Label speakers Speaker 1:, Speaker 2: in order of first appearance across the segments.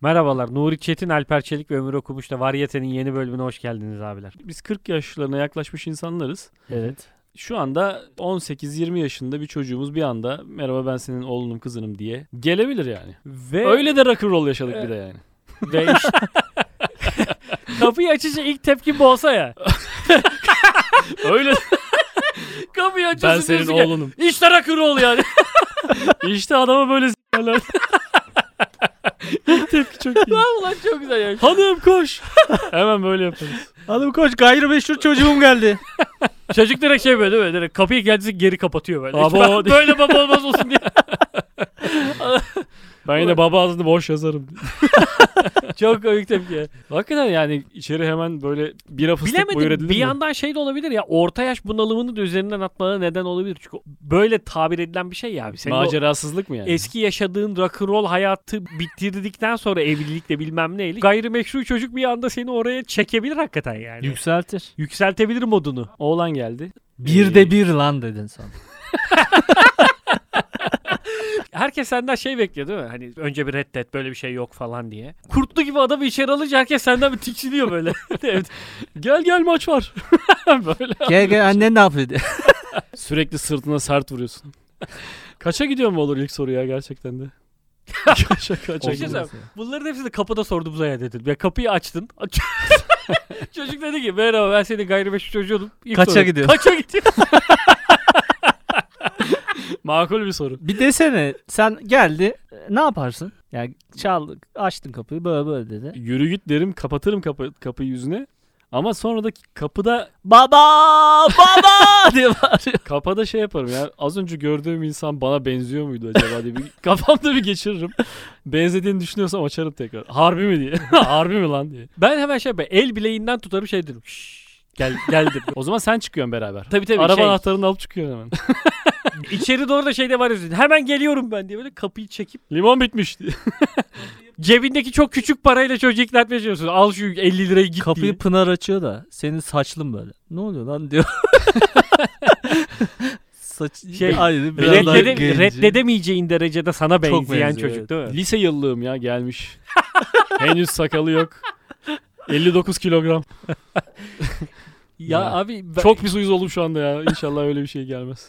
Speaker 1: Merhabalar. Nuri Çetin, Alper Çelik ve Ömür Okumuş'la Varyete'nin yeni bölümüne hoş geldiniz abiler.
Speaker 2: Biz 40 yaşlarına yaklaşmış insanlarız.
Speaker 1: Evet.
Speaker 2: Şu anda 18-20 yaşında bir çocuğumuz bir anda merhaba ben senin oğlunum kızınım diye gelebilir yani.
Speaker 1: Ve
Speaker 2: Öyle de rock'n'roll yaşadık bir de yani.
Speaker 1: ve iş- Kapıyı açınca ilk tepki bu olsa ya.
Speaker 2: Öyle
Speaker 1: Kapıyı açıyorsun
Speaker 2: ben senin
Speaker 1: diyorsun ki,
Speaker 2: oğlunum.
Speaker 1: İşte rock'n'roll yani.
Speaker 2: İşte adama böyle s**erler. İlk tepki çok iyi.
Speaker 1: Ulan çok güzel ya.
Speaker 2: Hanım koş. Hemen böyle yaparız.
Speaker 3: Hanım koş gayrimeşru çocuğum geldi.
Speaker 1: Çocuk direkt şey böyle değil mi? Direkt kapıyı kendisi geri kapatıyor böyle.
Speaker 2: Abi
Speaker 1: Ben
Speaker 2: o-
Speaker 1: böyle baba olmaz olsun diye.
Speaker 2: Ben yine baba ağzını boş yazarım.
Speaker 1: çok komik tepki ya.
Speaker 2: Hakikaten yani içeri hemen böyle bira fıstık buyur
Speaker 1: Bilemedim
Speaker 2: edilir
Speaker 1: bir
Speaker 2: mi?
Speaker 1: yandan şey de olabilir ya orta yaş bunalımını da üzerinden atmana neden olabilir. Çünkü böyle tabir edilen bir şey ya abi. Senin o-
Speaker 2: Macerasızlık mı yani?
Speaker 1: Eski yaşadığın rock'n'roll hayatı bitirdikten sonra evlilikle bilmem neyle gayrimeşru çocuk bir anda seni oraya çekebilir hakikaten yani.
Speaker 3: Yükseltir.
Speaker 1: Yükseltebilir modunu.
Speaker 2: Oğlan geldi.
Speaker 3: Bir
Speaker 1: Ee,
Speaker 3: de bir lan dedin sen.
Speaker 1: Herkes senden şey bekliyor değil mi? Hani önce bir reddet böyle bir şey yok falan diye. Kurtlu gibi adamı içeri alınca herkes senden bir tiksiniyor böyle. Evet.
Speaker 2: Gel gel maç var. böyle.
Speaker 3: Gel gel annen ne yapıyor diye.
Speaker 2: Sürekli sırtına sert vuruyorsun. Kaça gidiyor mu olur ilk soru ya gerçekten de. Şaka
Speaker 1: Bir şey
Speaker 2: şaka.
Speaker 1: söyleyeyim. Bunların hepsini kapıda sordum zaya dedim. Ya kapıyı açtın. Çocuk dedi ki merhaba ben senin gayrimeşru çocuğunum. İlk
Speaker 3: Kaça
Speaker 1: soru,
Speaker 3: gidiyor?
Speaker 1: Kaça gidiyor?
Speaker 2: Makul bir soru.
Speaker 3: Bir desene sen geldi e, ne yaparsın? Yani çal açtın kapıyı böyle böyle dedi.
Speaker 2: Yürü git derim kapatırım kapı, kapıyı yüzüne. Ama sonra da kapıda
Speaker 3: Baba baba diye bağırıyor.
Speaker 2: kapıda şey yaparım ya. Az önce gördüğüm insan bana benziyor muydu acaba diye bir kafamda bir geçiririm. Benzediğini düşünüyorsam açarım tekrar. Harbi mi diye. Harbi mi lan diye.
Speaker 1: Ben hemen şey yapayım. El bileğinden tutarım şey dedim. "Şşş, Gel, gel dedim.
Speaker 2: O zaman sen çıkıyorsun beraber.
Speaker 1: Tabii tabii
Speaker 2: Araba
Speaker 1: şey,
Speaker 2: anahtarını alıp çıkıyorsun hemen.
Speaker 1: içeri doğru da şey de var ya, Hemen geliyorum ben diye böyle kapıyı çekip
Speaker 2: Limon bitmiş diye.
Speaker 1: cebindeki çok küçük parayla çocuğu ikna çalışıyorsun. Al şu 50 lirayı git diye.
Speaker 3: Kapıyı Pınar açıyor da senin saçlın böyle. Ne oluyor lan diyor. Saç
Speaker 1: Şey,
Speaker 3: ayrı biraz daha
Speaker 1: Reddede,
Speaker 3: genci.
Speaker 1: reddedemeyeceğin derecede sana benzeyen
Speaker 3: Çok benziyor,
Speaker 1: çocuk
Speaker 3: evet.
Speaker 1: değil mi?
Speaker 2: Lise yıllığım ya gelmiş. Henüz sakalı yok. 59 kilogram.
Speaker 1: Ya,
Speaker 2: Ya.
Speaker 1: abi ben-
Speaker 2: Çok bir suyuz oldum şu anda ya. İnşallah öyle bir şey gelmez.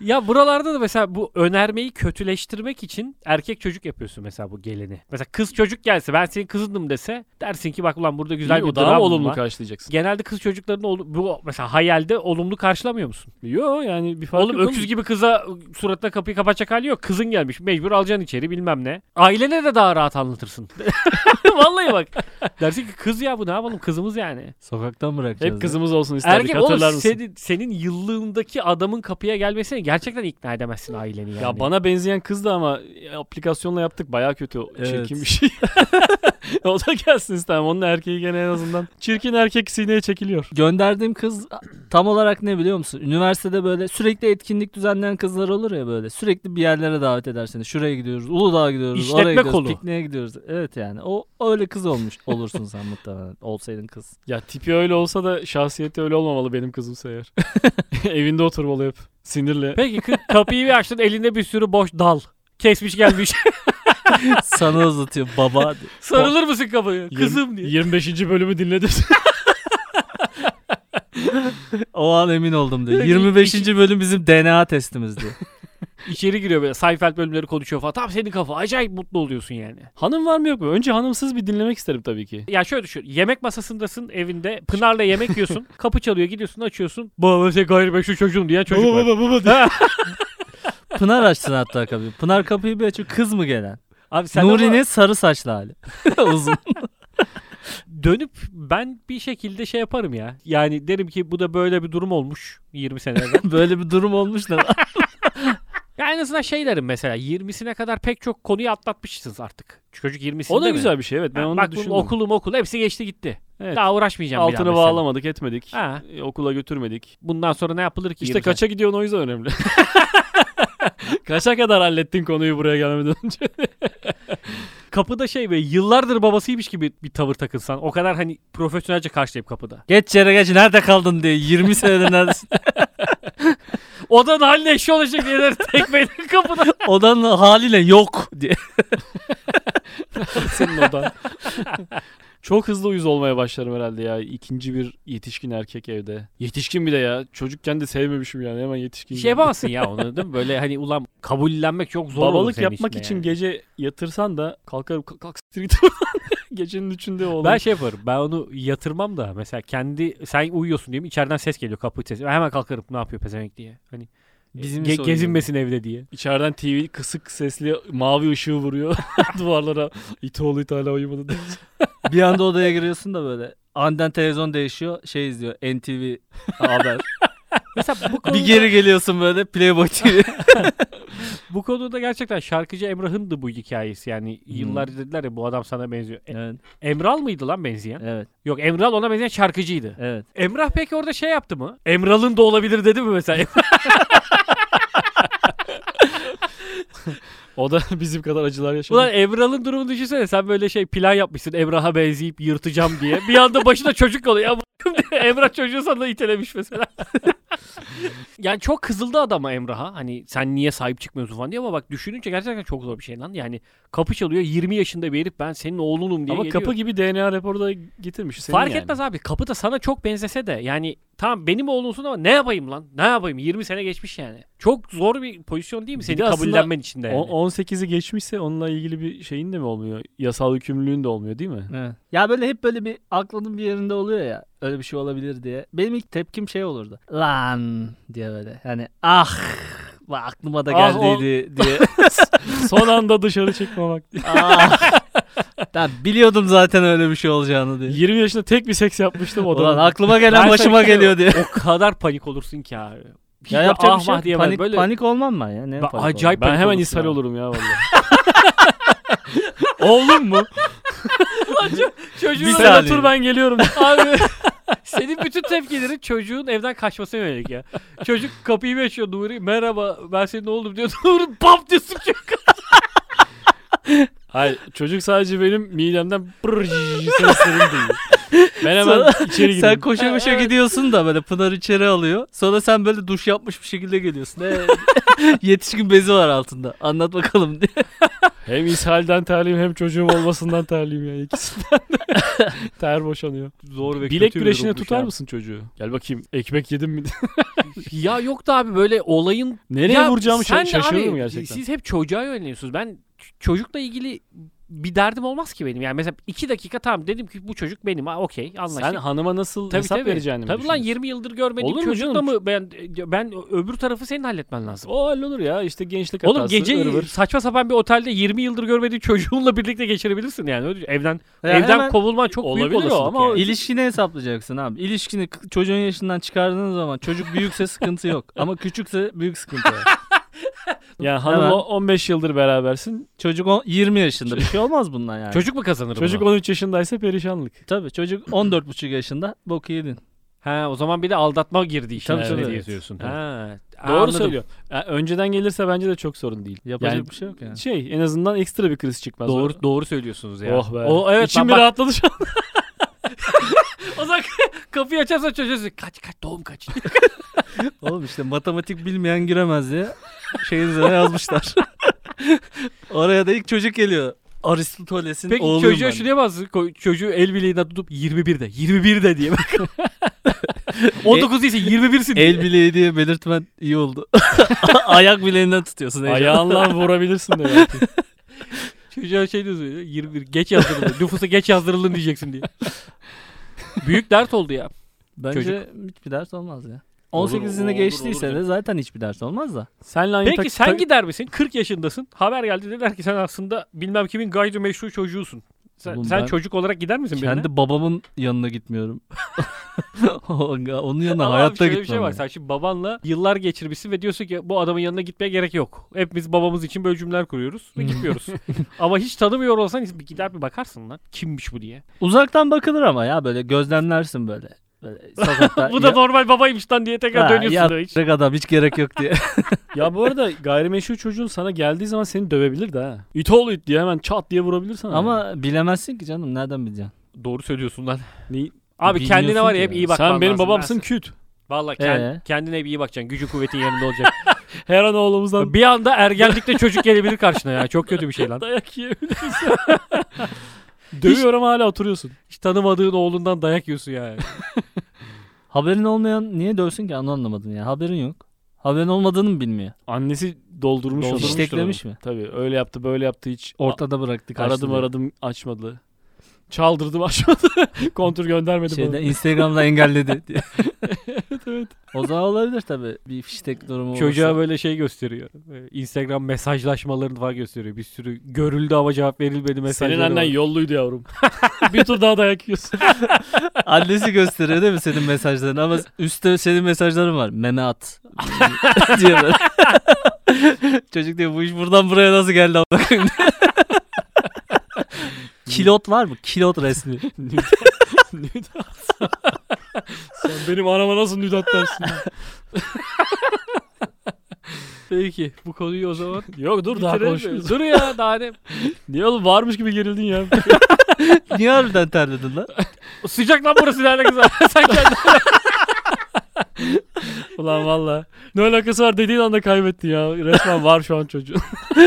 Speaker 1: ya buralarda da mesela bu önermeyi kötüleştirmek için erkek çocuk yapıyorsun mesela bu gelini. Mesela kız çocuk gelse ben senin kızındım dese dersin ki bak ulan burada güzel
Speaker 2: İyi,
Speaker 1: bir
Speaker 2: o daha
Speaker 1: dram
Speaker 2: mı olumlu
Speaker 1: var.
Speaker 2: karşılayacaksın?
Speaker 1: Genelde kız çocuklarını ol- bu mesela hayalde olumlu karşılamıyor musun?
Speaker 2: Yo yani bir fark
Speaker 1: Oğlum
Speaker 2: yok.
Speaker 1: öküz gibi kıza suratına kapıyı kapatacak hali yok. Kızın gelmiş. Mecbur alacaksın içeri bilmem ne. Ailene de daha rahat anlatırsın. Vallahi bak. Dersin ki kız ya bu ne yapalım kızımız yani.
Speaker 3: Sokaktan bırakacağız.
Speaker 2: Hep
Speaker 3: ya.
Speaker 2: kızımız olsun isterdik
Speaker 1: Erkek oğlum
Speaker 2: hatırlar mısın?
Speaker 1: senin, senin yıllığındaki adamın kapıya gelmesine gerçekten ikna edemezsin aileni yani.
Speaker 2: Ya bana benzeyen kız da ama aplikasyonla yaptık baya kötü
Speaker 3: Evet.
Speaker 2: çirkin bir şey. o da gelsin istemem. Onun erkeği gene en azından. Çirkin erkek sineye çekiliyor.
Speaker 3: Gönderdiğim kız tam olarak ne biliyor musun? Üniversitede böyle sürekli etkinlik düzenleyen kızlar olur ya böyle. Sürekli bir yerlere davet edersiniz. Şuraya gidiyoruz, Uludağ'a gidiyoruz,
Speaker 1: İşletme
Speaker 3: oraya gidiyoruz,
Speaker 1: kolu.
Speaker 3: pikniğe gidiyoruz. Evet yani o öyle kız olmuş olursun sen muhtemelen. Olsaydın kız.
Speaker 2: Ya tipi öyle olsa da şahsiyeti öyle olmamalı benim kızımsa eğer. Evinde oturmalı hep. Sinirle.
Speaker 1: Peki kız kapıyı bir açtın elinde bir sürü boş dal. Kesmiş gelmiş.
Speaker 3: Sana uzatıyor baba. diye.
Speaker 1: Sarılır mısın kapıya? Kızım diye.
Speaker 2: 25. bölümü dinledim.
Speaker 3: O an emin oldum diyor.
Speaker 1: Yok,
Speaker 3: 25. bölüm bizim DNA testimizdi.
Speaker 1: İçeri giriyor böyle. Seinfeld bölümleri konuşuyor falan. Tam senin kafa. Acayip mutlu oluyorsun yani.
Speaker 2: Hanım var mı yok mu? Önce hanımsız bir dinlemek isterim tabii ki.
Speaker 1: Ya şöyle düşün. Yemek masasındasın evinde. Pınar'la yemek yiyorsun. kapı çalıyor. Gidiyorsun açıyorsun. Baba sen gayrimeşru çocuğum diyen çocuk var.
Speaker 2: baba baba. Ha,
Speaker 3: Pınar açsın hatta kapıyı. Pınar kapıyı bir açıyor. Kız mı gelen?
Speaker 1: Abi sen
Speaker 3: Nuri'nin
Speaker 1: ama
Speaker 3: sarı saçlı hali. Uzun.
Speaker 1: dönüp ben bir şekilde şey yaparım ya. Yani derim ki bu da böyle bir durum olmuş 20 sene evvel.
Speaker 3: Böyle bir durum olmuş da.
Speaker 1: ya en azından şey derim mesela 20'sine kadar pek çok konuyu atlatmışsınız artık. Çocuk 20'sinde
Speaker 2: o da
Speaker 1: mi?
Speaker 2: güzel bir şey evet. Ben
Speaker 1: Ha,
Speaker 2: onu
Speaker 1: bak bunun
Speaker 2: düşündüm.
Speaker 1: okulum okul hepsi geçti gitti.
Speaker 2: Evet.
Speaker 1: Daha uğraşmayacağım bir daha
Speaker 2: Altına
Speaker 1: mesela.
Speaker 2: bağlamadık etmedik.
Speaker 1: Ha.
Speaker 2: E, Okula götürmedik.
Speaker 1: Bundan sonra ne yapılır ki?
Speaker 2: İşte
Speaker 1: 20 sene?
Speaker 2: kaça gidiyorsun o yüzden önemli. Kaça kadar hallettin konuyu buraya gelmeden önce?
Speaker 1: kapıda şey böyle yıllardır babasıymış gibi bir tavır takılsan. O kadar hani profesyonelce karşılayıp kapıda.
Speaker 3: geç yere geç nerede kaldın diye 20 senede neredesin?
Speaker 1: Odanın haline eşi olacak diye tekmeyle kapıda.
Speaker 3: Odanın haliyle yok diye.
Speaker 2: Senin odan. Çok hızlı uyuz olmaya başlarım herhalde ya. İkinci bir yetişkin erkek evde. Yetişkin bir de ya. Çocukken de sevmemişim yani. Hemen yetişkin.
Speaker 1: Şey
Speaker 2: geldi.
Speaker 1: yapamazsın ya onu değil mi? Böyle hani ulan kabullenmek çok zor olur
Speaker 2: Babalık
Speaker 1: senin
Speaker 2: yapmak
Speaker 1: işine
Speaker 2: için
Speaker 1: yani.
Speaker 2: gece yatırsan da kalkarım kalk, kalk siktir git. Gecenin üçünde oğlum.
Speaker 1: Ben şey yaparım. Ben onu yatırmam da mesela kendi sen uyuyorsun diyeyim içeriden ses geliyor kapı sesi. Ben hemen kalkarım ne yapıyor pezevenk diye. Hani
Speaker 3: Bizim
Speaker 1: ge-
Speaker 3: soyuyor.
Speaker 1: gezinmesin evde diye.
Speaker 2: İçeriden TV kısık sesli mavi ışığı vuruyor duvarlara. İti oğlu it hala uyumadı. diye.
Speaker 3: Bir anda odaya giriyorsun da böyle. Aniden televizyon değişiyor. Şey izliyor. NTV haber.
Speaker 1: Mesela bu konuda,
Speaker 3: bir geri geliyorsun böyle Playboy TV.
Speaker 1: bu konuda gerçekten şarkıcı Emrah'ın da bu hikayesi. Yani
Speaker 3: Hmm.
Speaker 1: yıllar dediler ya bu adam sana benziyor. E,
Speaker 3: evet,
Speaker 1: Emral mıydı lan benzeyen?
Speaker 3: evet,
Speaker 1: Yok Emral ona benzeyen şarkıcıydı.
Speaker 3: evet.
Speaker 1: Emrah peki orada şey yaptı mı? Emral'ın da olabilir dedi mi mesela?
Speaker 2: O da bizim kadar acılar yaşadı.
Speaker 1: Ulan Emrah'ın durumunu düşünsene. Sen böyle şey plan yapmışsın Emrah'a benzeyip yırtacağım diye. Bir anda başına çocuk oluyor. Ya bakayım diye Emrah çocuğu sana itelemiş mesela. yani çok kızıldı adama Emrah'a. Hani sen niye sahip çıkmıyorsun falan diye ama bak düşününce gerçekten çok zor bir şey lan. Yani kapı çalıyor 20 yaşında bir herif ben senin oğlunum diye
Speaker 2: Ama
Speaker 1: geliyor.
Speaker 2: kapı gibi DNA raporu da getirmiş. Senin
Speaker 1: Fark
Speaker 2: yani.
Speaker 1: etmez abi kapı da sana çok benzese de yani tamam benim oğlunsun ama ne yapayım lan ne yapayım 20 sene geçmiş yani. Çok zor bir pozisyon değil mi
Speaker 2: Bir
Speaker 1: seni
Speaker 2: de aslında
Speaker 1: kabullenmen için de yani.
Speaker 2: O- 18'i geçmişse onunla ilgili bir şeyin de mi olmuyor? Yasal hükümlülüğün de olmuyor değil mi?
Speaker 3: Evet. Ya böyle hep böyle bir aklının bir yerinde oluyor ya. Öyle bir şey olabilir diye. Benim ilk tepkim şey olurdu. Lan diye böyle. Yani ah bak aklıma da
Speaker 2: Ah, o-
Speaker 3: geldiydi diye.
Speaker 2: Son anda dışarı çıkmamak.
Speaker 3: ah. Ben biliyordum zaten öyle bir şey olacağını diye.
Speaker 2: 20 yaşında tek bir seks yapmıştım o da.
Speaker 3: Ulan aklıma gelen
Speaker 1: Ben
Speaker 3: başıma
Speaker 1: sana-
Speaker 3: geliyor diye.
Speaker 1: o kadar panik olursun ki abi. Hiç
Speaker 3: Ya
Speaker 1: ya
Speaker 3: yapacak bir
Speaker 1: ah
Speaker 3: şey
Speaker 1: vah
Speaker 3: yok.
Speaker 1: diye
Speaker 3: panik,
Speaker 1: böyle.
Speaker 3: panik olmam ben ya. Ne
Speaker 1: Ben
Speaker 3: panik olmam?
Speaker 1: acayip
Speaker 2: ben hemen
Speaker 1: panik
Speaker 2: ishal
Speaker 1: olursun
Speaker 2: olurum ya vallahi. Oğlum mu?
Speaker 1: Çocuğun
Speaker 3: Bir
Speaker 1: Sen
Speaker 3: saniye.
Speaker 1: otur ben geliyorum. Abi senin bütün tepkilerin çocuğun evden kaçmasına yönelik ya. Çocuk kapıyı bir açıyor Nuri. Merhaba ben senin oğlum diyor. Nuri bap diye sıkıyor.
Speaker 2: Hayır çocuk sadece benim midemden brrrr seslerini duyuyor. Ben hemen içeri gireyim.
Speaker 3: Sen koşa koşa
Speaker 1: Evet.
Speaker 3: gidiyorsun da böyle Pınar içeri alıyor. Sonra sen böyle duş yapmış bir şekilde geliyorsun. Ee, yetişkin bezi var altında. Anlat bakalım diye.
Speaker 2: Hem ishalden terliyim hem çocuğum olmasından terliyim ya ikisinden de. Ter boşanıyor.
Speaker 1: Zor ve
Speaker 2: Bilek güreşine tutar mısın çocuğu? Gel bakayım ekmek yedim mi?
Speaker 1: Ya yok da abi böyle olayın
Speaker 2: Nereye
Speaker 1: Ya
Speaker 2: vuracağımı
Speaker 1: sen
Speaker 2: şa-
Speaker 1: de
Speaker 2: şaşırıyorum
Speaker 1: abi,
Speaker 2: gerçekten.
Speaker 1: Siz hep çocuğa yöneliyorsunuz. Ben ç- çocukla ilgili bir derdim olmaz ki benim. Yani mesela iki dakika tamam dedim ki bu çocuk benim. Ha okey anlaştık.
Speaker 2: Sen hanıma nasıl
Speaker 1: Tabii
Speaker 2: hesap
Speaker 1: tabii.
Speaker 2: vereceğini mi
Speaker 1: Tabii lan
Speaker 2: düşünüyorsun?
Speaker 1: 20 yıldır görmediğim
Speaker 2: Olur mu
Speaker 1: çocukla
Speaker 2: canım?
Speaker 1: mı ben e, ben öbür tarafı senin halletmen lazım.
Speaker 2: O hallolur ya işte gençlik hatası.
Speaker 1: Oğlum gece
Speaker 2: ırvır.
Speaker 1: saçma sapan bir otelde 20 yıldır görmediğin çocuğunla birlikte geçirebilirsin yani. Öyle- Evden evden
Speaker 3: hemen
Speaker 1: kovulman çok büyük
Speaker 2: Olabilir o
Speaker 1: olasılık
Speaker 2: ama o-
Speaker 1: yani.
Speaker 3: ilişkini hesaplayacaksın abi. İlişkini k- çocuğun yaşından çıkardığın zaman çocuk büyükse sıkıntı yok. Ama küçükse büyük sıkıntı var.
Speaker 2: Yani hanımla
Speaker 3: Hemen.
Speaker 2: 15 yıldır berabersin.
Speaker 3: Çocuk on- 20 yaşında bir şey olmaz bundan yani.
Speaker 1: Çocuk mu kazanır
Speaker 2: Çocuk
Speaker 1: bunu?
Speaker 2: 13 yaşındaysa perişanlık.
Speaker 3: Tabii çocuk 14,5 yaşında boku yedin.
Speaker 1: Ha o zaman bir de aldatma girdi işin
Speaker 3: Tabii,
Speaker 1: içine
Speaker 3: tabii.
Speaker 1: diye diyorsun.
Speaker 2: Evet.
Speaker 1: Ha.
Speaker 2: Doğru
Speaker 1: anladım.
Speaker 2: söylüyor. Yani önceden gelirse bence de çok sorun değil.
Speaker 3: Yapacak
Speaker 2: Yani
Speaker 3: bir şey yok yani.
Speaker 2: Şey en azından ekstra bir kriz çıkmaz.
Speaker 1: Doğru doğru söylüyorsunuz ya.
Speaker 2: Oh be.
Speaker 1: O evet
Speaker 2: İçim
Speaker 1: ben
Speaker 2: bir
Speaker 1: bak-
Speaker 2: rahatladı şu an.
Speaker 1: o zaman kapıyı açarsa çocuğa diyorsun, kaç kaç doğum kaç.
Speaker 3: Oğlum işte matematik bilmeyen giremez diye şeyin üzerine yazmışlar. Oraya da ilk çocuk geliyor. Aristoteles'in
Speaker 1: Peki
Speaker 3: oğluyum
Speaker 1: çocuğa
Speaker 3: ben.
Speaker 1: şunu yapamazsın. Ko- Çocuğu el bileğinden tutup 21'de 21'de diye bak. 19 değilse 21'sin diye.
Speaker 3: E- El bileği diye belirtmen iyi oldu. Ayak bileğinden tutuyorsun. heyecan.
Speaker 2: Ayağınla vurabilirsin de belki.
Speaker 1: Çocuğa şey diyorsun ya, 21 geç yazdırılın. nüfusa geç yazdırılın diyeceksin diye. Büyük dert oldu ya.
Speaker 3: Bence
Speaker 1: çocuk.
Speaker 3: hiçbir ders olmaz ya.
Speaker 1: Olur,
Speaker 3: 18'ine
Speaker 1: olur,
Speaker 3: geçtiyse
Speaker 1: olur
Speaker 3: de zaten hiçbir ders olmaz da.
Speaker 2: Senle aynı
Speaker 1: Peki
Speaker 2: tak-
Speaker 1: sen
Speaker 2: tak-
Speaker 1: gider misin? 40 yaşındasın. Haber geldi dediler ki sen aslında bilmem kimin gayri meşru çocuğusun. Sen,
Speaker 3: Oğlum
Speaker 1: sen
Speaker 3: ben
Speaker 1: çocuk olarak gider misin birine?
Speaker 3: Kendi babamın yanına gitmiyorum. Onun yanına
Speaker 1: Ama abi
Speaker 3: hayatta
Speaker 1: şöyle
Speaker 3: gitmem.
Speaker 1: bir şey var.
Speaker 3: ya.
Speaker 1: Sen şimdi babanla yıllar geçirmişsin ve diyorsun ki bu adamın yanına gitmeye gerek yok. Hepimiz babamız için böyle cümleler kuruyoruz
Speaker 3: Hmm.
Speaker 1: ve gitmiyoruz. Ama hiç tanımıyor olsan bir gider bir bakarsın lan. Kimmiş bu diye.
Speaker 3: Uzaktan bakılır ama ya böyle gözlemlersin böyle. Böyle sokakta.
Speaker 1: bu da
Speaker 3: ya-
Speaker 1: normal babaymış lan diye tekrar
Speaker 3: Ha,
Speaker 1: dönüyorsun da hiç.
Speaker 3: yatacak adam hiç gerek yok diye.
Speaker 2: Ya bu arada gayrimeşru çocuğun sana geldiği zaman seni dövebilir de ha. İt oğlu it diye hemen çat diye vurabilir sana.
Speaker 3: Ama bilemezsin ki canım nereden bileceksin?
Speaker 1: Doğru söylüyorsun lan.
Speaker 2: Ni-
Speaker 1: Abi
Speaker 3: Bilmiyorsun
Speaker 1: kendine var ya
Speaker 3: ki
Speaker 1: hep
Speaker 3: ya.
Speaker 1: iyi bakman
Speaker 2: sen benim
Speaker 1: lazım.
Speaker 2: babamsın
Speaker 1: Dersin.
Speaker 2: küt.
Speaker 1: Valla kend-
Speaker 3: Ee?
Speaker 1: kendine hep iyi bakacaksın. Gücü kuvvetin yerinde olacak.
Speaker 2: Her an oğlumuzdan
Speaker 1: Bir anda ergenlikte çocuk gelebilir karşına ya. Çok kötü bir şey lan.
Speaker 2: dayak yiyebiliriz. Dövüyorum hala oturuyorsun.
Speaker 1: Hiç tanımadığın oğlundan dayak yiyorsun yani.
Speaker 3: Haberin olmayan niye dövsün ki onu anlamadım ya. Haberin yok. Haberin olmadığını mı bilmiyor?
Speaker 2: Annesi doldurmuş
Speaker 1: Doldurmuştur
Speaker 3: Fişteklemiş mi?
Speaker 2: Tabii öyle yaptı böyle yaptı hiç.
Speaker 3: Ortada bıraktı
Speaker 2: A- aradım
Speaker 3: kaçtı.
Speaker 2: aradım açmadı. Çaldırdım açmadı. Kontur göndermedi
Speaker 3: Şeyde
Speaker 2: bana.
Speaker 3: Instagram'da engelledi. evet O zaman olabilir tabii. Bir fiştek durumu olursa.
Speaker 1: Çocuğa böyle şey gösteriyor. Ee, Instagram mesajlaşmalarını falan gösteriyor. Bir sürü görüldü ama cevap verilmedi mesajları
Speaker 2: Senin annen
Speaker 1: var.
Speaker 2: yolluydu yavrum. bir tur daha dayak yiyorsun.
Speaker 3: Annesi gösteriyor değil mi senin mesajlarını ama üstte senin mesajların var. Meme at. diye böyle. Çocuk diyor bu iş buradan buraya nasıl geldi amına koyayım?" Kilot var mı? Kilot resmi.
Speaker 2: Nüdat. Sen benim anama nasıl nüdat dersin?
Speaker 1: Peki bu konuyu o zaman
Speaker 2: Yok dur daha
Speaker 1: bitirelim mi?
Speaker 2: konuşuyoruz.
Speaker 1: Dur ya daha ne?
Speaker 2: Niye oğlum varmış gibi gerildin ya.
Speaker 3: Niye harbiden terledin lan?
Speaker 1: Sıcak lan burası ne güzel. Sen kendin.
Speaker 2: Ulan valla. Ne alakası var dediğin anda kaybettin ya. Resmen var şu an çocuğun.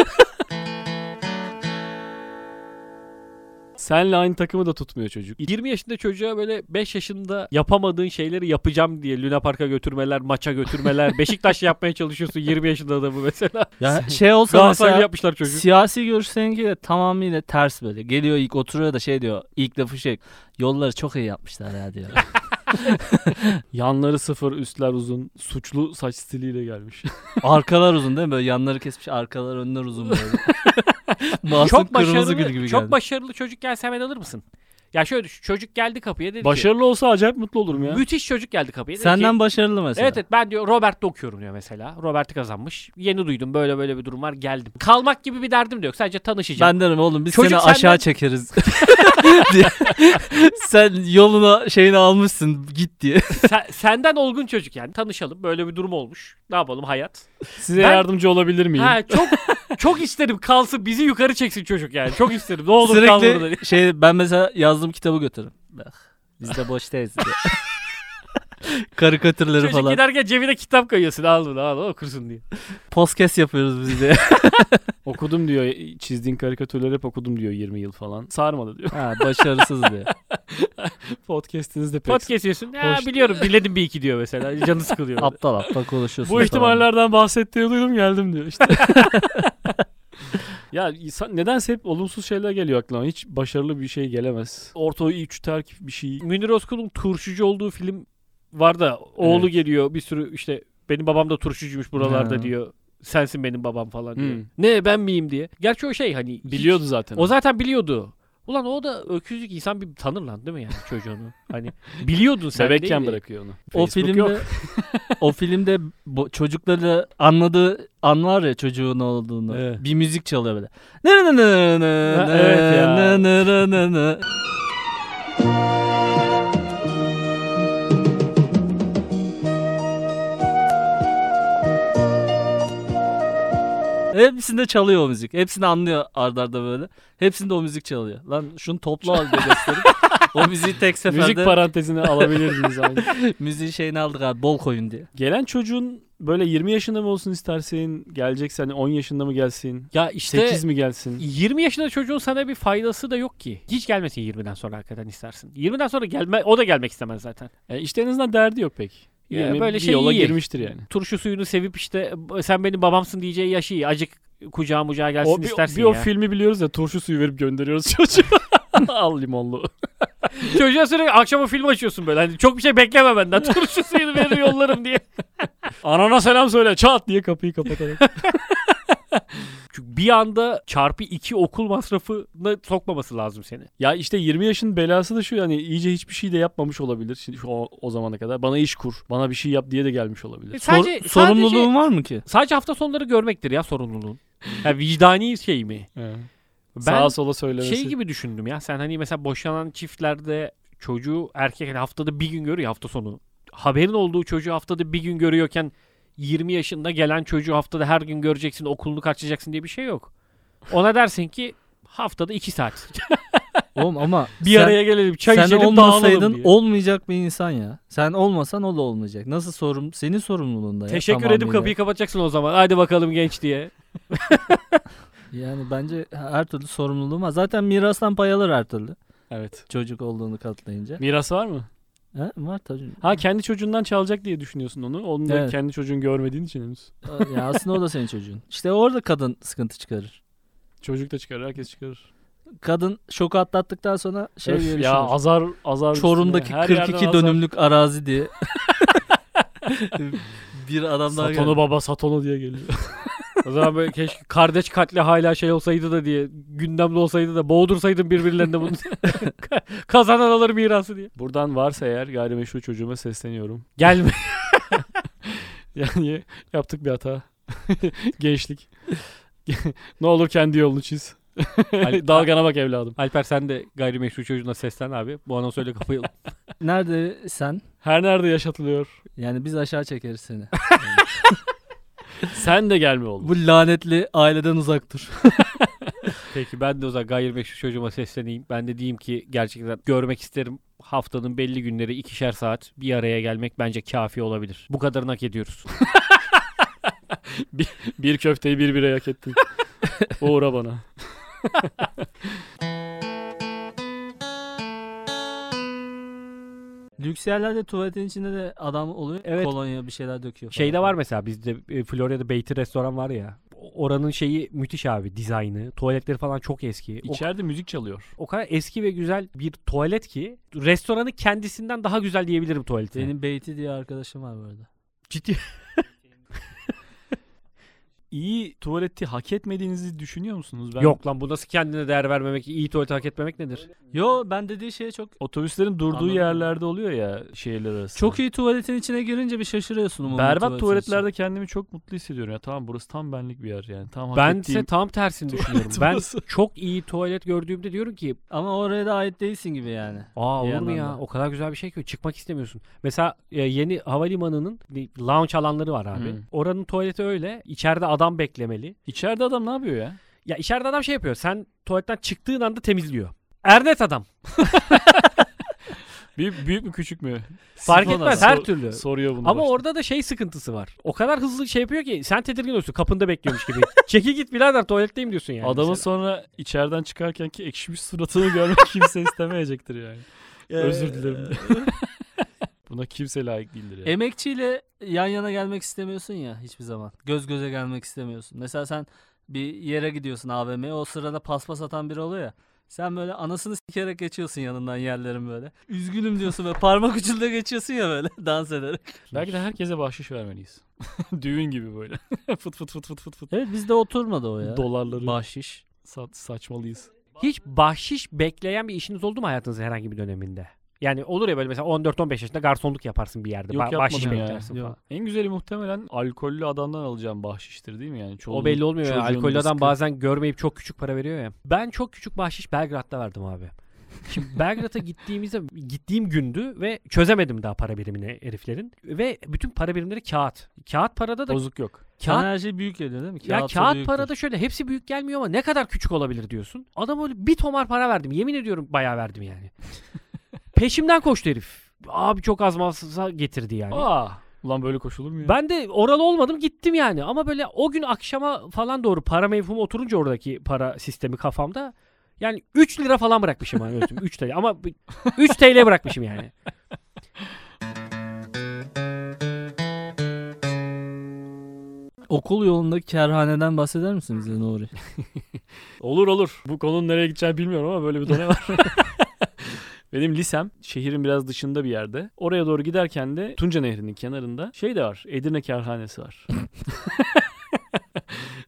Speaker 2: Senle aynı takımı da tutmuyor çocuk.
Speaker 1: 20 yaşında çocuğa böyle 5 yaşında yapamadığın şeyleri yapacağım diye Luna Park'a götürmeler, maça götürmeler. Beşiktaş yapmaya çalışıyorsun 20 yaşında adamı mesela.
Speaker 3: Ya şey olsa
Speaker 1: Galatasaray
Speaker 3: mesela
Speaker 1: yapmışlar çocuğu.
Speaker 3: siyasi görüş seninkiyle tamamıyla ters böyle. Geliyor ilk oturuyor da şey diyor. ilk lafı şey. Yolları çok iyi yapmışlar ya diyor.
Speaker 2: Yanları sıfır, üstler uzun. Suçlu saç stiliyle gelmiş.
Speaker 3: Arkalar uzun değil mi? Böyle yanları kesmiş arkalar önler uzun böyle. Masum
Speaker 1: çok
Speaker 3: kırmızı gül
Speaker 1: başarılı,
Speaker 3: gibi
Speaker 1: çok
Speaker 3: geldi.
Speaker 1: başarılı çocuk gelse hemen alır mısın? Ya şöyle düşün. Çocuk geldi kapıya dedi ki.
Speaker 2: Başarılı olsa acayip mutlu olurum ya.
Speaker 1: Müthiş çocuk geldi kapıya. Dedi ki,
Speaker 3: Senden başarılı mesela.
Speaker 1: Evet evet ben diyor Robert'te okuyorum diyor mesela. Robert'i kazanmış. Yeni duydum böyle böyle bir durum var geldim. Kalmak gibi bir derdim de yok. Sadece tanışacağım.
Speaker 3: Ben derim oğlum biz
Speaker 1: Çocuk
Speaker 3: seni
Speaker 1: senden-
Speaker 3: aşağı çekeriz. diye. Sen yoluna şeyini almışsın git diye.
Speaker 1: Sen- senden olgun çocuk yani. Tanışalım. Böyle bir durum olmuş. Ne yapalım hayat.
Speaker 2: Size
Speaker 1: Ben-
Speaker 2: yardımcı olabilir miyim?
Speaker 1: Ha, çok çok isterim kalsın bizi yukarı çeksin çocuk yani. Çok isterim. Ne olur kal burada diye.
Speaker 3: Sürekli şey ben mesela yazdığım kitabı götürürüm. Bak biz de boş değiliz diye. Karikatürleri
Speaker 1: Çocuk
Speaker 3: falan.
Speaker 1: giderken cebine kitap koyuyorsun. Al bunu al okursun diye.
Speaker 3: Podcast yapıyoruz biz de.
Speaker 2: Okudum diyor. Çizdiğin karikatürleri hep okudum diyor 20 yıl falan. Sarmadı diyor.
Speaker 3: ha, başarısız diye.
Speaker 2: Podcast'inizde pek.
Speaker 1: Pot kesiyorsun. Ha,
Speaker 2: Hoş-
Speaker 1: biliyorum biledim bir iki diyor mesela. Canı sıkılıyor.
Speaker 3: Aptal aptal konuşuyorsun.
Speaker 2: Bu
Speaker 3: falan.
Speaker 2: ihtimallerden bahsettiğini duydum geldim diyor işte. ya insan, nedense hep olumsuz şeyler geliyor aklına. Hiç başarılı bir şey gelemez. Orta üç terk bir şey.
Speaker 1: Münir Özkul'un turşucu olduğu film var da oğlu
Speaker 2: Evet.
Speaker 1: geliyor bir sürü işte benim babam da turşucuymuş buralarda
Speaker 3: Ha.
Speaker 1: diyor. Sensin benim babam falan diyor.
Speaker 2: Hmm.
Speaker 1: Ne ben miyim diye. Gerçi o şey hani hiç-
Speaker 2: Biliyordu zaten.
Speaker 1: o zaten biliyordu. Ulan o da öküzlük insan bir tanır lan değil mi yani çocuğunu? hani biliyordun sen
Speaker 2: Bebekken
Speaker 1: değil de.
Speaker 2: bırakıyor onu.
Speaker 3: O
Speaker 2: Facebook
Speaker 3: filmde
Speaker 2: yok.
Speaker 3: o filmde bu çocukları anladığı an var ya çocuğun olduğunu.
Speaker 2: Evet.
Speaker 3: Bir müzik çalıyor böyle. Nı nı nı nı nı
Speaker 2: Ha,
Speaker 3: nı
Speaker 2: evet ya.
Speaker 3: nı nı nı nı nı. Hepsinde çalıyor o müzik. Hepsini anlıyor ardarda arda böyle. Hepsinde o müzik çalıyor. Lan şunu toplu halde gösterip o müziği tek seferde
Speaker 2: Müzik parantezine alabilirdiniz aynı.
Speaker 3: müziğin şeyini aldık abi bol koyun diye.
Speaker 2: Gelen çocuğun böyle 20 yaşında mı olsun istersin? Gelecekse hani 10 yaşında mı gelsin?
Speaker 1: Ya işte
Speaker 2: 8 mi gelsin?
Speaker 1: 20 yaşında çocuğun sana bir faydası da yok ki. Hiç gelmesin 20'den sonra hakikaten istersin. 20'den sonra gelme o da gelmek istemez zaten.
Speaker 2: E işte en azından derdi yok pek.
Speaker 1: Ya
Speaker 2: 20
Speaker 1: böyle
Speaker 2: bir
Speaker 1: şey
Speaker 2: yola
Speaker 1: iyi.
Speaker 2: girmiştir yani.
Speaker 1: Turşu suyunu sevip işte sen benim babamsın diyeceği yaşı iyi. Acık kucağa mucağa gelsin
Speaker 2: O bir,
Speaker 1: istersin
Speaker 2: bir
Speaker 1: ya.
Speaker 2: o filmi biliyoruz ya turşu suyu verip gönderiyoruz çocuğa. Al limonlu.
Speaker 1: Çocuğa sürekli akşama film açıyorsun böyle. Hani çok bir şey bekleme benden. Turşu suyunu verir yollarım diye.
Speaker 2: Anana selam söyle çat diye kapıyı kapatarak.
Speaker 1: Çünkü bir anda çarpı iki okul masrafına sokmaması lazım seni.
Speaker 2: ya işte 20 yaşın belası da şu yani iyice hiçbir şey de yapmamış olabilir. Şimdi şu o, o zamana kadar bana iş kur, bana bir şey yap diye de gelmiş olabilir.
Speaker 3: Sor-
Speaker 1: E, Sadece, şey-
Speaker 3: sorumluluğun
Speaker 1: Sadece,
Speaker 3: var mı ki?
Speaker 1: sadece hafta sonları görmektir ya sorumluluğun. Ya vicdani şey mi? Ben
Speaker 2: Sağa sola söylemesi.
Speaker 1: şey gibi düşündüm ya. Sen hani mesela boşanan çiftlerde çocuğu erkek hani haftada bir gün görüyor ya hafta sonu. Haberin olduğu çocuğu haftada bir gün görüyorken 20 yaşında gelen çocuğu haftada her gün göreceksin okulunu kaçacaksın diye bir şey yok. Ona dersin ki haftada 2 saat.
Speaker 3: Oğlum ama
Speaker 1: Bir
Speaker 3: sen-
Speaker 1: araya gelelim çay
Speaker 3: sen
Speaker 1: içelim dağılalım
Speaker 3: olmasaydın
Speaker 1: diye.
Speaker 3: olmayacak bir insan ya. Sen olmasan o da olmayacak. Nasıl sorum senin sorumluluğunda ya.
Speaker 1: Teşekkür edip
Speaker 3: tamamıyla.
Speaker 1: kapıyı kapatacaksın o zaman. Haydi bakalım genç diye.
Speaker 3: Yani bence her türlü sorumluluğum var. Zaten mirastan pay alır her türlü.
Speaker 2: Evet.
Speaker 3: Çocuk olduğunu katlayınca.
Speaker 2: Miras var mı?
Speaker 3: Ha, var tabii.
Speaker 2: Ha kendi çocuğundan çalacak diye düşünüyorsun onu. Onu da
Speaker 3: Evet.
Speaker 2: kendi çocuğun görmediğin için henüz.
Speaker 3: Ee, ya aslında o da senin çocuğun. İşte orada kadın sıkıntı çıkarır.
Speaker 2: Çocuk da çıkarır, herkes çıkarır.
Speaker 3: Kadın şoku atlattıktan sonra şey
Speaker 2: Öf,
Speaker 3: diye
Speaker 2: ya
Speaker 3: düşünür.
Speaker 2: azar azar. üstüne,
Speaker 3: Çorum'daki
Speaker 2: her yerden
Speaker 3: 42
Speaker 2: azar.
Speaker 3: dönümlük arazi diye. bir adam daha
Speaker 2: Satonu baba Satonu diye geliyor.
Speaker 1: O zaman böyle keşke kardeş katli hala şey olsaydı da diye gündemde olsaydı da boğdursaydın birbirlerine bunu. Kazanan alır mirası diye.
Speaker 2: Buradan varsa eğer gayrimeşru çocuğuma sesleniyorum.
Speaker 1: Gelme.
Speaker 2: Yani yaptık bir hata. Gençlik. ne olur kendi yolunu çiz.
Speaker 1: Al-
Speaker 2: Dalgana bak evladım.
Speaker 1: Alper sen de gayrimeşru çocuğuna seslen abi. Bu anonsu öyle kapayalım.
Speaker 3: Nerede sen?
Speaker 2: Her nerede yaşatılıyor.
Speaker 3: Yani biz aşağı çekeriz seni.
Speaker 2: Sen de gelme oğlum.
Speaker 3: Bu lanetli aileden uzak dur.
Speaker 1: Peki ben de o zaman gayrimeşru çocuğuma sesleneyim. Ben de diyeyim ki gerçekten görmek isterim. Haftanın belli günleri ikişer saat bir araya gelmek bence kafi olabilir. Bu kadarını hak ediyoruz.
Speaker 2: Bir köfteyi bir bire hak ettin. Uğra bana.
Speaker 3: Lüks yerlerde tuvaletin içinde de adam oluyor.
Speaker 1: Evet.
Speaker 3: Kolonya bir şeyler döküyor. Falan.
Speaker 1: Şeyde Şey var mesela bizde e, Florya'da Beyti restoran var ya. O- Oranın şeyi müthiş abi dizaynı. Tuvaletleri falan çok eski. O,
Speaker 2: İçeride müzik çalıyor.
Speaker 1: o kadar eski ve güzel bir tuvalet ki restoranı kendisinden daha güzel diyebilirim tuvaleti.
Speaker 3: Benim Beyti diye arkadaşım var bu arada.
Speaker 1: ciddi
Speaker 2: İyi tuvaleti hak etmediğinizi düşünüyor musunuz? Ben
Speaker 1: Yok lan bu nasıl kendine değer vermemek, iyi tuvalet hak etmemek nedir?
Speaker 3: Yo ben dediği şeye çok
Speaker 2: Otobüslerin durduğu
Speaker 3: Anladım.
Speaker 2: yerlerde oluyor ya şehirler arası.
Speaker 3: çok iyi tuvaletin içine girince bir şaşırıyorsun umumi
Speaker 2: Berbat
Speaker 3: tuvaletin
Speaker 2: tuvaletlerde kendimi çok mutlu hissediyorum. Ya tamam burası tam benlik bir yer yani. Tam hak
Speaker 1: Ben
Speaker 2: ettiğim
Speaker 1: ise tam tersini düşünüyorum.
Speaker 2: tuvalet
Speaker 1: ben
Speaker 2: burası.
Speaker 1: çok iyi tuvalet gördüğümde diyorum ki
Speaker 3: içinde. Ama oraya da ait değilsin gibi yani.
Speaker 1: Aa
Speaker 3: Bir
Speaker 1: olur mu
Speaker 3: yandan
Speaker 1: ya?
Speaker 3: da.
Speaker 1: O kadar güzel bir şey ki çıkmak istemiyorsun. Mesela e, yeni havalimanının bir lounge alanları var abi.
Speaker 2: Hmm.
Speaker 1: Oranın tuvaleti öyle. İçeride adam beklemeli.
Speaker 2: İçeride adam ne yapıyor ya?
Speaker 1: Ya içeride adam şey yapıyor. Sen tuvaletten çıktığın anda temizliyor. Ernet adam.
Speaker 2: Büyük, büyük mü küçük mü?
Speaker 1: Fark
Speaker 3: Sifon
Speaker 1: etmez
Speaker 2: adam.
Speaker 1: her
Speaker 2: Sor-
Speaker 1: türlü.
Speaker 2: Soruyor bunu.
Speaker 1: Ama
Speaker 2: başta.
Speaker 1: orada da şey sıkıntısı var. O kadar hızlı şey yapıyor ki sen tedirgin oluyorsun. Kapında bekliyormuş gibi. Çekil git birader tuvaletteyim diyorsun yani.
Speaker 2: Adamın
Speaker 1: mesela.
Speaker 2: sonra içeriden çıkarken ki ekşimiş suratını görmek kimse istemeyecektir yani.
Speaker 3: Ee,
Speaker 2: Özür dilerim. Buna kimse layık değildir yani.
Speaker 3: Emekçiyle yan yana gelmek istemiyorsun ya hiçbir zaman. Göz göze gelmek istemiyorsun. Mesela sen bir yere gidiyorsun AVM'ye o sırada paspas atan biri oluyor ya. Sen böyle anasını sikerek geçiyorsun yanından yerlerin böyle. Üzgünüm diyorsun ve parmak ucunda geçiyorsun ya böyle dans ederek.
Speaker 2: Belki de herkese bahşiş vermeliyiz. Düğün gibi böyle. fıt fıt fıt fıt fıt fıt.
Speaker 3: Evet bizde oturmadı o ya.
Speaker 2: Dolarları
Speaker 3: Bahşiş.
Speaker 2: sa- saçmalıyız.
Speaker 1: Hiç bahşiş bekleyen bir işiniz oldu mu hayatınızın herhangi bir döneminde? Yani olur ya böyle mesela 14-15 yaşında garsonluk yaparsın bir yerde.
Speaker 2: Yok
Speaker 1: Ba- bahşiş
Speaker 2: yapmadım ya.
Speaker 1: beklersin
Speaker 3: Yok.
Speaker 1: falan.
Speaker 2: En güzeli muhtemelen alkollü adamdan alacağım bahşiştir değil mi yani?
Speaker 1: O belli olmuyor ya.
Speaker 2: çocuğun
Speaker 1: Alkollü adam
Speaker 2: rızkı.
Speaker 1: bazen görmeyip çok küçük para veriyor ya. Ben çok küçük bahşiş Belgrad'da verdim abi. Şimdi Belgrad'a gittiğimizde gittiğim gündü ve çözemedim daha para birimini heriflerin. Ve bütün para birimleri kağıt. Kağıt parada da
Speaker 2: Bozuk yok.
Speaker 1: kağıt
Speaker 3: Sana her şey büyük geliyor değil mi?
Speaker 1: ya
Speaker 3: Kağıtsa
Speaker 1: kağıt
Speaker 3: büyüktür.
Speaker 1: parada şöyle hepsi büyük gelmiyor ama ne kadar küçük olabilir diyorsun. Adam öyle bir tomar para verdim. Yemin ediyorum bayağı verdim yani. Peşimden koştu herif. Abi çok az masa getirdi yani.
Speaker 2: Aa, ulan böyle koşulur mu ya?
Speaker 1: Ben de oralı olmadım gittim yani ama böyle o gün akşama falan doğru para mevhumu oturunca oradaki para sistemi kafamda yani 3 lira falan bırakmışım hani 3 TL ama 3 TL bırakmışım yani.
Speaker 3: Okul yolundaki kerhaneden bahseder misin bize Nuri?
Speaker 2: Olur olur. Bu konunun nereye gideceğini bilmiyorum ama böyle bir dönem var. Benim lisem şehrin biraz dışında bir yerde. Oraya doğru giderken de Tunca Nehri'nin kenarında şey de var. Edirne Kerhanesi var.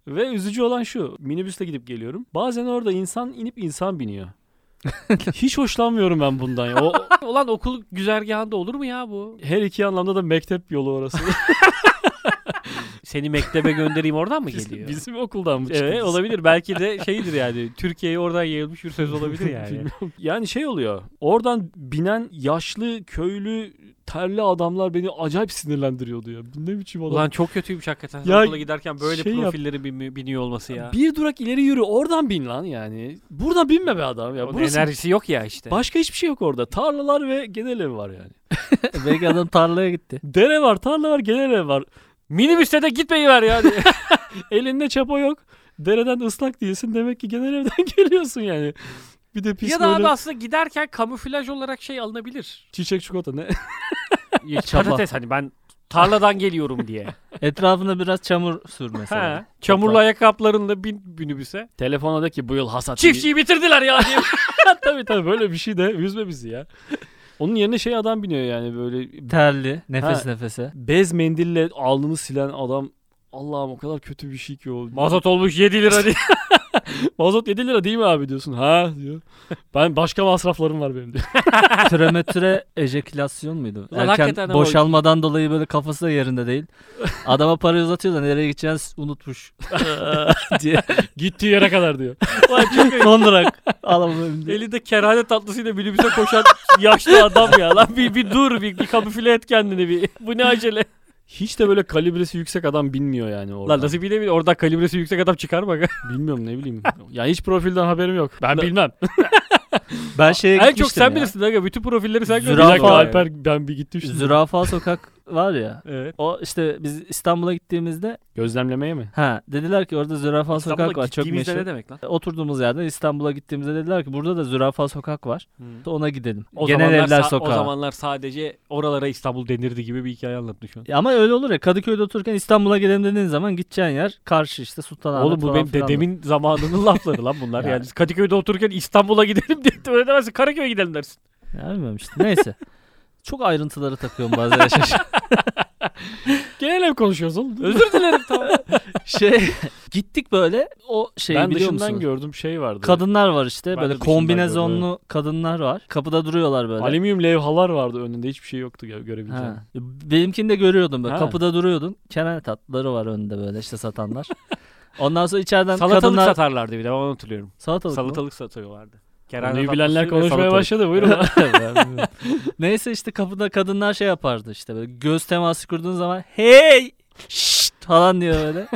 Speaker 2: Ve üzücü olan şu. Minibüsle gidip geliyorum. Bazen orada insan inip insan biniyor. Hiç hoşlanmıyorum ben bundan ya. O,
Speaker 1: Ulan okul güzergahında olur mu ya bu?
Speaker 2: her iki anlamda da mektep yolu orası.
Speaker 1: Seni mektebe göndereyim oradan mı
Speaker 2: bizim,
Speaker 1: geliyor?
Speaker 2: bizim okuldan mı çıktı?
Speaker 1: Evet olabilir belki de şeydir yani Türkiye'ye oradan yayılmış bir söz olabilir yani.
Speaker 2: Bilmiyorum. Yani şey oluyor. Oradan binen yaşlı, köylü, terli adamlar beni acayip sinirlendiriyordu ya. Bu Ne biçim adam.
Speaker 1: Ulan çok kötüymüş hakikaten.
Speaker 2: Ya,
Speaker 1: Okula giderken böyle
Speaker 2: şey yap-
Speaker 1: profilleri bin- biniyor olması ya.
Speaker 2: Bir durak ileri yürü oradan bin lan yani. Buradan binme be adam ya.
Speaker 1: Onun
Speaker 2: Burası
Speaker 1: enerjisi yok ya işte.
Speaker 2: Başka hiçbir şey yok orada. Tarlalar ve genel ev var yani.
Speaker 3: Belki adam tarlaya gitti.
Speaker 2: Dere var, tarla var, genel ev var.
Speaker 1: Minibüste de gitmeyiver ya.
Speaker 2: Elinde çapa yok. Dereden ıslak değilsin. Demek ki genel evden geliyorsun yani. Bir de pis
Speaker 1: ya da abi
Speaker 2: böyle
Speaker 1: aslında giderken kamuflaj olarak şey alınabilir.
Speaker 2: çiçek çikolata ne?
Speaker 3: Çaba.
Speaker 1: Patates hani ben tarladan geliyorum diye.
Speaker 3: Etrafına biraz çamur sür mesela.
Speaker 1: ha, çamurlu
Speaker 3: Toprak.
Speaker 1: ayakkabılarınla bin minibüse.
Speaker 2: Telefona de ki bu yıl hasat.
Speaker 1: Çiftçiyi bitirdiler ya diye.
Speaker 2: tabii tabii böyle bir şey de üzme bizi ya. Onun yerine şey adam biniyor yani böyle
Speaker 3: Terli, nefes
Speaker 2: Ha.
Speaker 3: nefese.
Speaker 2: bez mendille alnını silen adam. Allah'ım o kadar kötü bir şey ki o.
Speaker 1: Mazot olmuş 7 lira diye.
Speaker 2: Mazot 7 lira değil mi abi diyorsun. Ha diyor. Ben başka masraflarım var benim diyor.
Speaker 3: Türemetüre ejekülasyon muydu?
Speaker 1: Ulan hakikaten
Speaker 3: Erken
Speaker 1: ama-
Speaker 3: boşalmadan dolayı böyle kafası da yerinde değil. Adama parayı uzatıyor da nereye gideceğini unutmuş. diye.
Speaker 2: Gittiği yere kadar diyor.
Speaker 1: Ulan çok iyi.
Speaker 3: Son durak. Alamam diye.
Speaker 1: Elinde kerane tatlısıyla minibüse koşan yaşlı adam ya. Lan bir, bir dur bir, bir kamufle et kendini bir. Bu ne acele.
Speaker 2: Hiç de böyle kalibresi yüksek adam binmiyor yani orada.
Speaker 1: Lan nasıl bilemiyorum. Orada kalibresi yüksek adam çıkar bak.
Speaker 2: Bilmiyorum ne bileyim. Yani hiç profilden haberim yok.
Speaker 1: Ben
Speaker 2: Da-
Speaker 1: bilmem.
Speaker 3: Ben şeye
Speaker 1: en çok
Speaker 3: gitmiştim
Speaker 1: sen
Speaker 3: ya.
Speaker 1: bilirsin. Aga. Bütün profilleri sen
Speaker 2: Bir
Speaker 1: gördün.
Speaker 3: Zürafa.
Speaker 2: dakika
Speaker 3: Zürafa.
Speaker 2: Alper ben bir gittim şimdi.
Speaker 3: Zürafa sokak var ya.
Speaker 1: Evet.
Speaker 3: O işte biz İstanbul'a gittiğimizde
Speaker 2: Gözlemlemeye mi?
Speaker 3: ha dediler ki orada zürafa sokak var çok
Speaker 1: gittiğimizde ne
Speaker 3: meşhur.
Speaker 1: demek lan?
Speaker 3: Oturduğumuz yerden İstanbul'a gittiğimizde dediler ki burada da zürafa sokak var.
Speaker 1: Hmm.
Speaker 3: Ona gidelim.
Speaker 1: O
Speaker 3: Genel
Speaker 1: zamanlar
Speaker 3: evler
Speaker 1: sa-
Speaker 3: sokağı.
Speaker 1: O zamanlar sadece oralara İstanbul denirdi gibi bir hikaye anlattın şu an.
Speaker 3: Ya Ama öyle olur ya Kadıköy'de otururken İstanbul'a gelelim dediğin zaman gideceğin yer karşı işte Sultanahmet
Speaker 1: Oğlum bu
Speaker 3: falan
Speaker 1: benim
Speaker 3: filan.
Speaker 1: dedemin zamanının lafları lan bunlar.
Speaker 3: Yani.
Speaker 1: yani. Biz Kadıköy'de otururken İstanbul'a gidelim diye öyle demezsin. Karaköy'e gidelim dersin.
Speaker 3: Ya bilmiyorum işte neyse. Çok ayrıntıları takıyorum bazen. şey,
Speaker 2: Genel ev konuşuyoruz oğlum.
Speaker 1: Özür dilerim tamam.
Speaker 3: şey gittik böyle o
Speaker 1: Şey
Speaker 3: şeyi
Speaker 2: ben
Speaker 3: biliyor
Speaker 2: dışından
Speaker 3: musunuz?
Speaker 2: gördüm şey vardı.
Speaker 3: Kadınlar var işte
Speaker 2: Ben de
Speaker 3: böyle
Speaker 2: dışından
Speaker 3: kombinezonlu
Speaker 2: gördüm,
Speaker 3: kadınlar var. Kapıda duruyorlar böyle.
Speaker 2: Alüminyum levhalar vardı önünde hiçbir şey yoktu gö- görebileceğin.
Speaker 3: Ha. Benimkini de görüyordum böyle.
Speaker 2: Ha.
Speaker 3: Kapıda duruyordun. Kenar tatlıları var önünde böyle işte satanlar. Ondan sonra içeriden
Speaker 1: Salatalık
Speaker 3: kadınlar
Speaker 1: satarlardı bir de onu hatırlıyorum.
Speaker 3: salatalık, mı?
Speaker 1: Salatalık satıyorlardı.
Speaker 2: Konuyu
Speaker 1: tatlısı
Speaker 2: bilenler
Speaker 1: ve
Speaker 2: konuşmaya
Speaker 1: salatalık.
Speaker 2: başladı buyurun.
Speaker 3: Neyse işte kapıda kadınlar şey yapardı işte böyle göz teması kurduğun zaman hey şşt falan diyor böyle.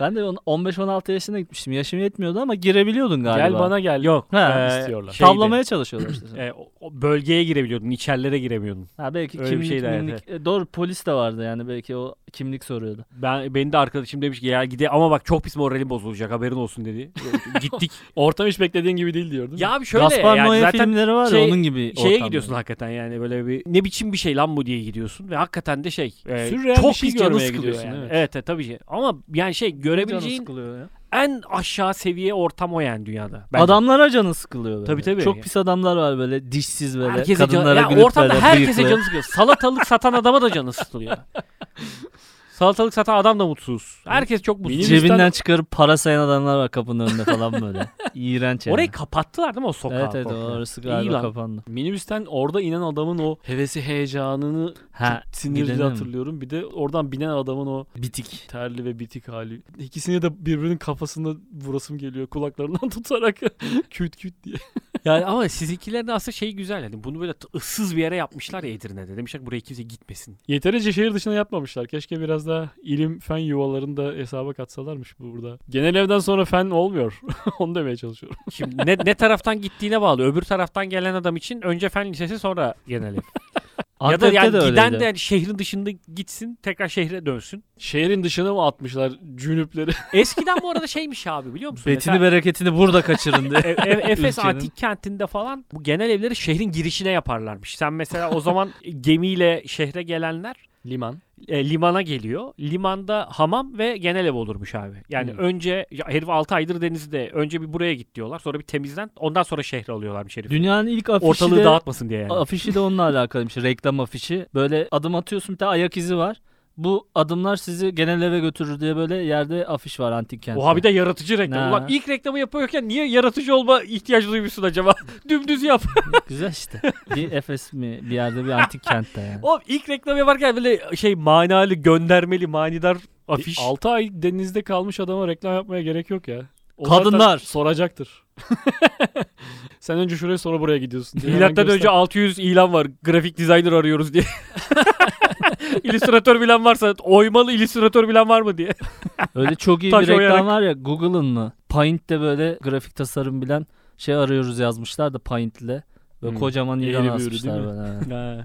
Speaker 3: ben de on- 15-16 yaşına gitmiştim. Yaşım yetmiyordu ama girebiliyordun galiba.
Speaker 2: gel bana gel.
Speaker 1: Yok.
Speaker 3: Ha,
Speaker 1: eee,
Speaker 2: istiyorlar.
Speaker 1: şeydi,
Speaker 3: Tavlamaya çalışıyorlar işte.
Speaker 1: eee, e, o- o bölgeye giremiyordun, içerilere giremiyordun.
Speaker 3: ha, belki
Speaker 1: Öyle bir
Speaker 3: kimlik,
Speaker 1: şeydi hayatı.
Speaker 3: mimlik- e, doğru polis de vardı yani belki o kimlik soruyordu.
Speaker 1: Ben beni de arkadaşım demiş ki ya gide ama bak çok pis moralim bozulacak haberin olsun dedi. Gittik.
Speaker 2: Ortam hiç beklediğin gibi değil diyor değil mi?
Speaker 1: ya abi şöyle
Speaker 3: Gaspar
Speaker 1: yani
Speaker 3: Noé
Speaker 1: zaten
Speaker 3: filmleri var
Speaker 1: şey-
Speaker 3: ya onun gibi
Speaker 1: şeye
Speaker 3: ortamda.
Speaker 1: gidiyorsun hakikaten yani böyle bir ne biçim bir şey lan bu diye gidiyorsun ve hakikaten de şey e,
Speaker 2: Sürreal
Speaker 1: çok
Speaker 2: bir şey
Speaker 1: pis canı
Speaker 2: görmeye
Speaker 1: sıkılıyor
Speaker 2: gidiyorsun,
Speaker 1: yani.
Speaker 2: evet.
Speaker 1: Evet. evet tabii ki. Ama yani şey
Speaker 3: Canı
Speaker 1: görebileceğin
Speaker 3: sıkılıyor ya.
Speaker 1: en aşağı seviye ortam o yani dünyada. Bence.
Speaker 3: Adamlara canı sıkılıyor böyle.
Speaker 1: Tabii, tabii.
Speaker 3: Çok pis adamlar var böyle dişsiz böyle
Speaker 1: herkese
Speaker 3: kadınlara
Speaker 1: can, ya
Speaker 3: gülüp
Speaker 1: ortamda
Speaker 3: böyle
Speaker 1: herkese
Speaker 3: bıyıklı.
Speaker 1: canı sıkılıyor. Salatalık satan adama da canı sıkılıyor. Salatalık satan adam da mutsuz. Herkes çok mutsuz.
Speaker 2: Benim
Speaker 3: Cebinden çıkarıp para sayan adamlar var kapının önünde falan böyle. İğrenç yani.
Speaker 1: Orayı kapattılar değil mi o sokağı?
Speaker 3: Evet evet
Speaker 1: komple?
Speaker 3: orası
Speaker 1: İyi
Speaker 3: galiba
Speaker 1: lan.
Speaker 3: kapandı.
Speaker 2: Minibüsten orada inen adamın o hevesi heyecanını
Speaker 3: Ha
Speaker 2: sinirli
Speaker 3: gidene mi?
Speaker 2: hatırlıyorum. Bir de oradan binen adamın o
Speaker 3: Bitik.
Speaker 2: terli ve bitik hali. İkisini de birbirinin kafasında vurasım geliyor kulaklarından tutarak küt küt diye.
Speaker 1: Yani ama sizinkilerin aslında şeyi güzel. Yani bunu böyle t- ıssız bir yere yapmışlar ya Edirne'de. Demişler ki buraya kimse gitmesin.
Speaker 2: Yeterince şehir dışına yapmamışlar. Keşke biraz daha ilim fen yuvalarını da hesaba katsalarmış bu burada. Genel evden sonra fen olmuyor. Onu demeye çalışıyorum.
Speaker 1: Şimdi ne, ne taraftan gittiğine bağlı. Öbür taraftan gelen adam için önce fen lisesi sonra genel ev. ya da
Speaker 3: Antep'te
Speaker 1: yani
Speaker 3: de
Speaker 1: giden
Speaker 3: öyleydi.
Speaker 1: de yani şehrin dışında gitsin tekrar şehre dönsün.
Speaker 2: Şehrin dışına mı atmışlar cünüpleri?
Speaker 1: Eskiden bu arada şeymiş abi biliyor musun?
Speaker 3: Betini
Speaker 1: Mesela
Speaker 3: bereketini burada kaçırın diye.
Speaker 1: E- E- Efes
Speaker 3: Ülkenin.
Speaker 1: Antik Kenti'nde falan bu genel evleri şehrin girişine yaparlarmış. Sen mesela o zaman gemiyle şehre gelenler
Speaker 2: Liman.
Speaker 1: e, limana geliyor. Limanda hamam ve genel ev olurmuş abi. Yani
Speaker 2: Hmm.
Speaker 1: önce ya herif 6 aydır denizde. Önce bir buraya git diyorlar. Sonra bir temizlen. Ondan sonra şehre alıyorlarmış herifi.
Speaker 3: Dünyanın ilk afişi
Speaker 1: Ortalığı
Speaker 3: de,
Speaker 1: dağıtmasın diye yani.
Speaker 3: afişi de onunla alakalıymış. Reklam afişi. Böyle adım atıyorsun bir tane ayak izi var. Bu adımlar sizi genel eve götürür diye böyle yerde afiş var antik kentte.
Speaker 1: Oha bir de yaratıcı reklam.
Speaker 3: Ha.
Speaker 1: Ulan ilk reklamı yapıyorken niye yaratıcı olma ihtiyacı duymuşsun acaba? Dümdüz yap.
Speaker 3: Güzel işte. Bir Efes mi bir yerde bir antik kentte yani.
Speaker 1: Oğlum ilk reklam yaparken böyle şey manalı, göndermeli, manidar afiş.
Speaker 2: 6 ay denizde kalmış adama reklam yapmaya gerek yok ya. O zaten
Speaker 3: Kadınlar.
Speaker 2: Soracaktır. Sen önce şuraya sonra buraya gidiyorsun. diye hemen
Speaker 1: Milattan
Speaker 2: göster.
Speaker 1: önce 600 ilan var. Grafik designer arıyoruz diye. illüstratör bilen varsa oymalı illüstratör bilen var mı diye.
Speaker 3: Öyle çok iyi
Speaker 1: Taş
Speaker 3: bir reklam
Speaker 1: oyarak.
Speaker 3: var ya Google'ın mı? Paint'te böyle grafik tasarım bilen şey arıyoruz yazmışlar da Paint'le. Böyle
Speaker 2: Hmm.
Speaker 3: kocaman
Speaker 2: Eğri
Speaker 3: ilan
Speaker 2: bir ürün
Speaker 3: asmışlar
Speaker 2: değil mi?
Speaker 3: böyle. evet.
Speaker 1: Ha.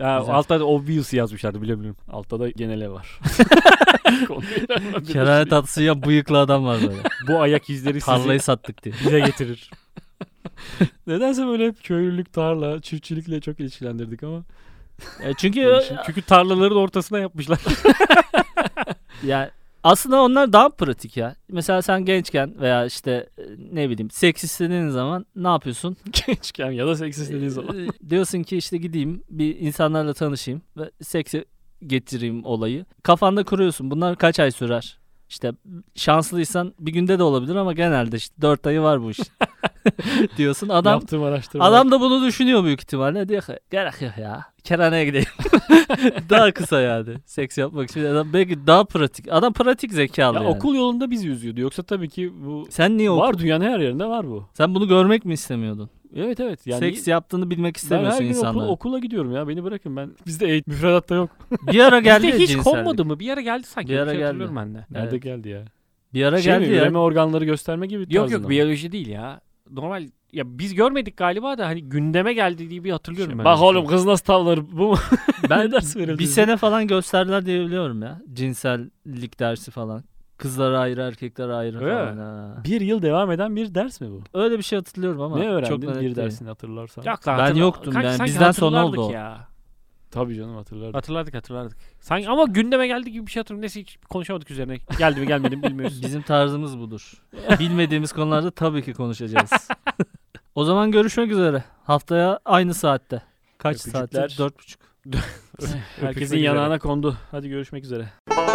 Speaker 1: Ha,
Speaker 3: Güzel.
Speaker 1: altta da obvious yazmışlardı biliyor musun?
Speaker 2: Altta da genele var.
Speaker 3: Kerane tatlısı ya bıyıklı adam var böyle.
Speaker 1: Bu ayak izleri sizi
Speaker 3: Tarlayı sattık diye.
Speaker 1: bize getirir.
Speaker 2: Nedense böyle hep köylülük, tarla, çiftçilikle çok ilişkilendirdik ama.
Speaker 3: E çünkü
Speaker 1: Çünkü tarlaların ortasına yapmışlar.
Speaker 3: yani aslında onlar daha pratik ya. Mesela sen gençken veya işte e, ne bileyim seks istediğin zaman ne yapıyorsun?
Speaker 2: Gençken ya da seks istediğin zaman.
Speaker 3: E, Diyorsun ki işte gideyim bir insanlarla tanışayım ve seksi getireyim olayı. Kafanda kuruyorsun. Bunlar kaç ay sürer? İşte şanslıysan bir günde de olabilir ama genelde işte 4 ayı var bu iş. diyorsun. Adam
Speaker 2: Yaptığım araştırma.
Speaker 3: adam da bunu düşünüyor büyük ihtimalle. Diyor ki gerek yok ya. Kerhaneye gideyim. daha kısa yani. Seks yapmak için adam belki daha pratik. Adam pratik zekalı
Speaker 2: ya
Speaker 3: yani.
Speaker 2: okul yolunda bizi yüzüyordu. Yoksa tabii ki bu
Speaker 3: Sen niye okul?
Speaker 2: var dünyanın her yerinde var bu.
Speaker 3: Sen bunu görmek mi istemiyordun?
Speaker 2: Evet evet. Yani
Speaker 3: Seks yaptığını bilmek
Speaker 2: ben her
Speaker 3: istemiyorsun
Speaker 2: gün
Speaker 3: insanlara.
Speaker 2: okula, okula gidiyorum ya. Beni bırakın ben. Bizde eğitim müfredatta yok.
Speaker 3: Bir ara geldi
Speaker 1: Bizde
Speaker 3: ya
Speaker 1: hiç
Speaker 3: cinsellik.
Speaker 1: konmadı mı? Bir yere geldi sanki.
Speaker 3: Bir ara
Speaker 1: şey
Speaker 3: geldi.
Speaker 1: hatırlıyorum ben de.
Speaker 2: Nerede
Speaker 3: Evet.
Speaker 2: geldi ya?
Speaker 3: Bir ara
Speaker 2: Şey mi,
Speaker 3: geldi ya.
Speaker 2: üreme organları gösterme gibi
Speaker 1: Yok
Speaker 2: tarzında
Speaker 1: yok
Speaker 2: mı?
Speaker 1: biyoloji değil ya. Normal ya biz görmedik galiba da hani gündeme geldi diye bir hatırlıyorum.
Speaker 2: Şey,
Speaker 1: ben.
Speaker 2: Bak oğlum kız nasıl tavlar bu mu?
Speaker 3: Ben
Speaker 2: Ne dersi verildi
Speaker 3: bir
Speaker 2: bize?
Speaker 3: sene falan gösterdiler diye biliyorum ya. Cinsellik dersi falan. Kızlara ayrı, erkeklere ayrı
Speaker 1: Öyle
Speaker 3: falan.
Speaker 1: mi?
Speaker 3: ha.
Speaker 2: Bir yıl devam eden bir ders mi bu?
Speaker 3: Öyle bir şey hatırlıyorum ama.
Speaker 2: ne öğrendin
Speaker 3: çok net
Speaker 2: bir
Speaker 3: değil.
Speaker 2: dersini hatırlarsan?
Speaker 1: Yok lan
Speaker 3: Ben
Speaker 1: hatırla-
Speaker 3: yoktum
Speaker 1: Kanka
Speaker 3: yani.
Speaker 1: sanki
Speaker 3: Bizden sonra
Speaker 1: hatırlardık
Speaker 3: oldu o.
Speaker 1: Ya.
Speaker 2: Tabii canım hatırlardım.
Speaker 1: Hatırlardık hatırlardık. Sanki ama gündeme geldi gibi bir şey hatırlıyorum. Neyse hiç konuşamadık üzerine. Geldi mi gelmedi mi bilmiyoruz.
Speaker 3: Bizim tarzımız budur. Bilmediğimiz konularda tabii ki konuşacağız. o zaman görüşmek üzere. Haftaya aynı saatte. Kaç
Speaker 2: Öpücükler.
Speaker 3: saat? Dört buçuk.
Speaker 2: Herkesin
Speaker 1: üzere.
Speaker 2: yanağına kondu. Hadi görüşmek üzere.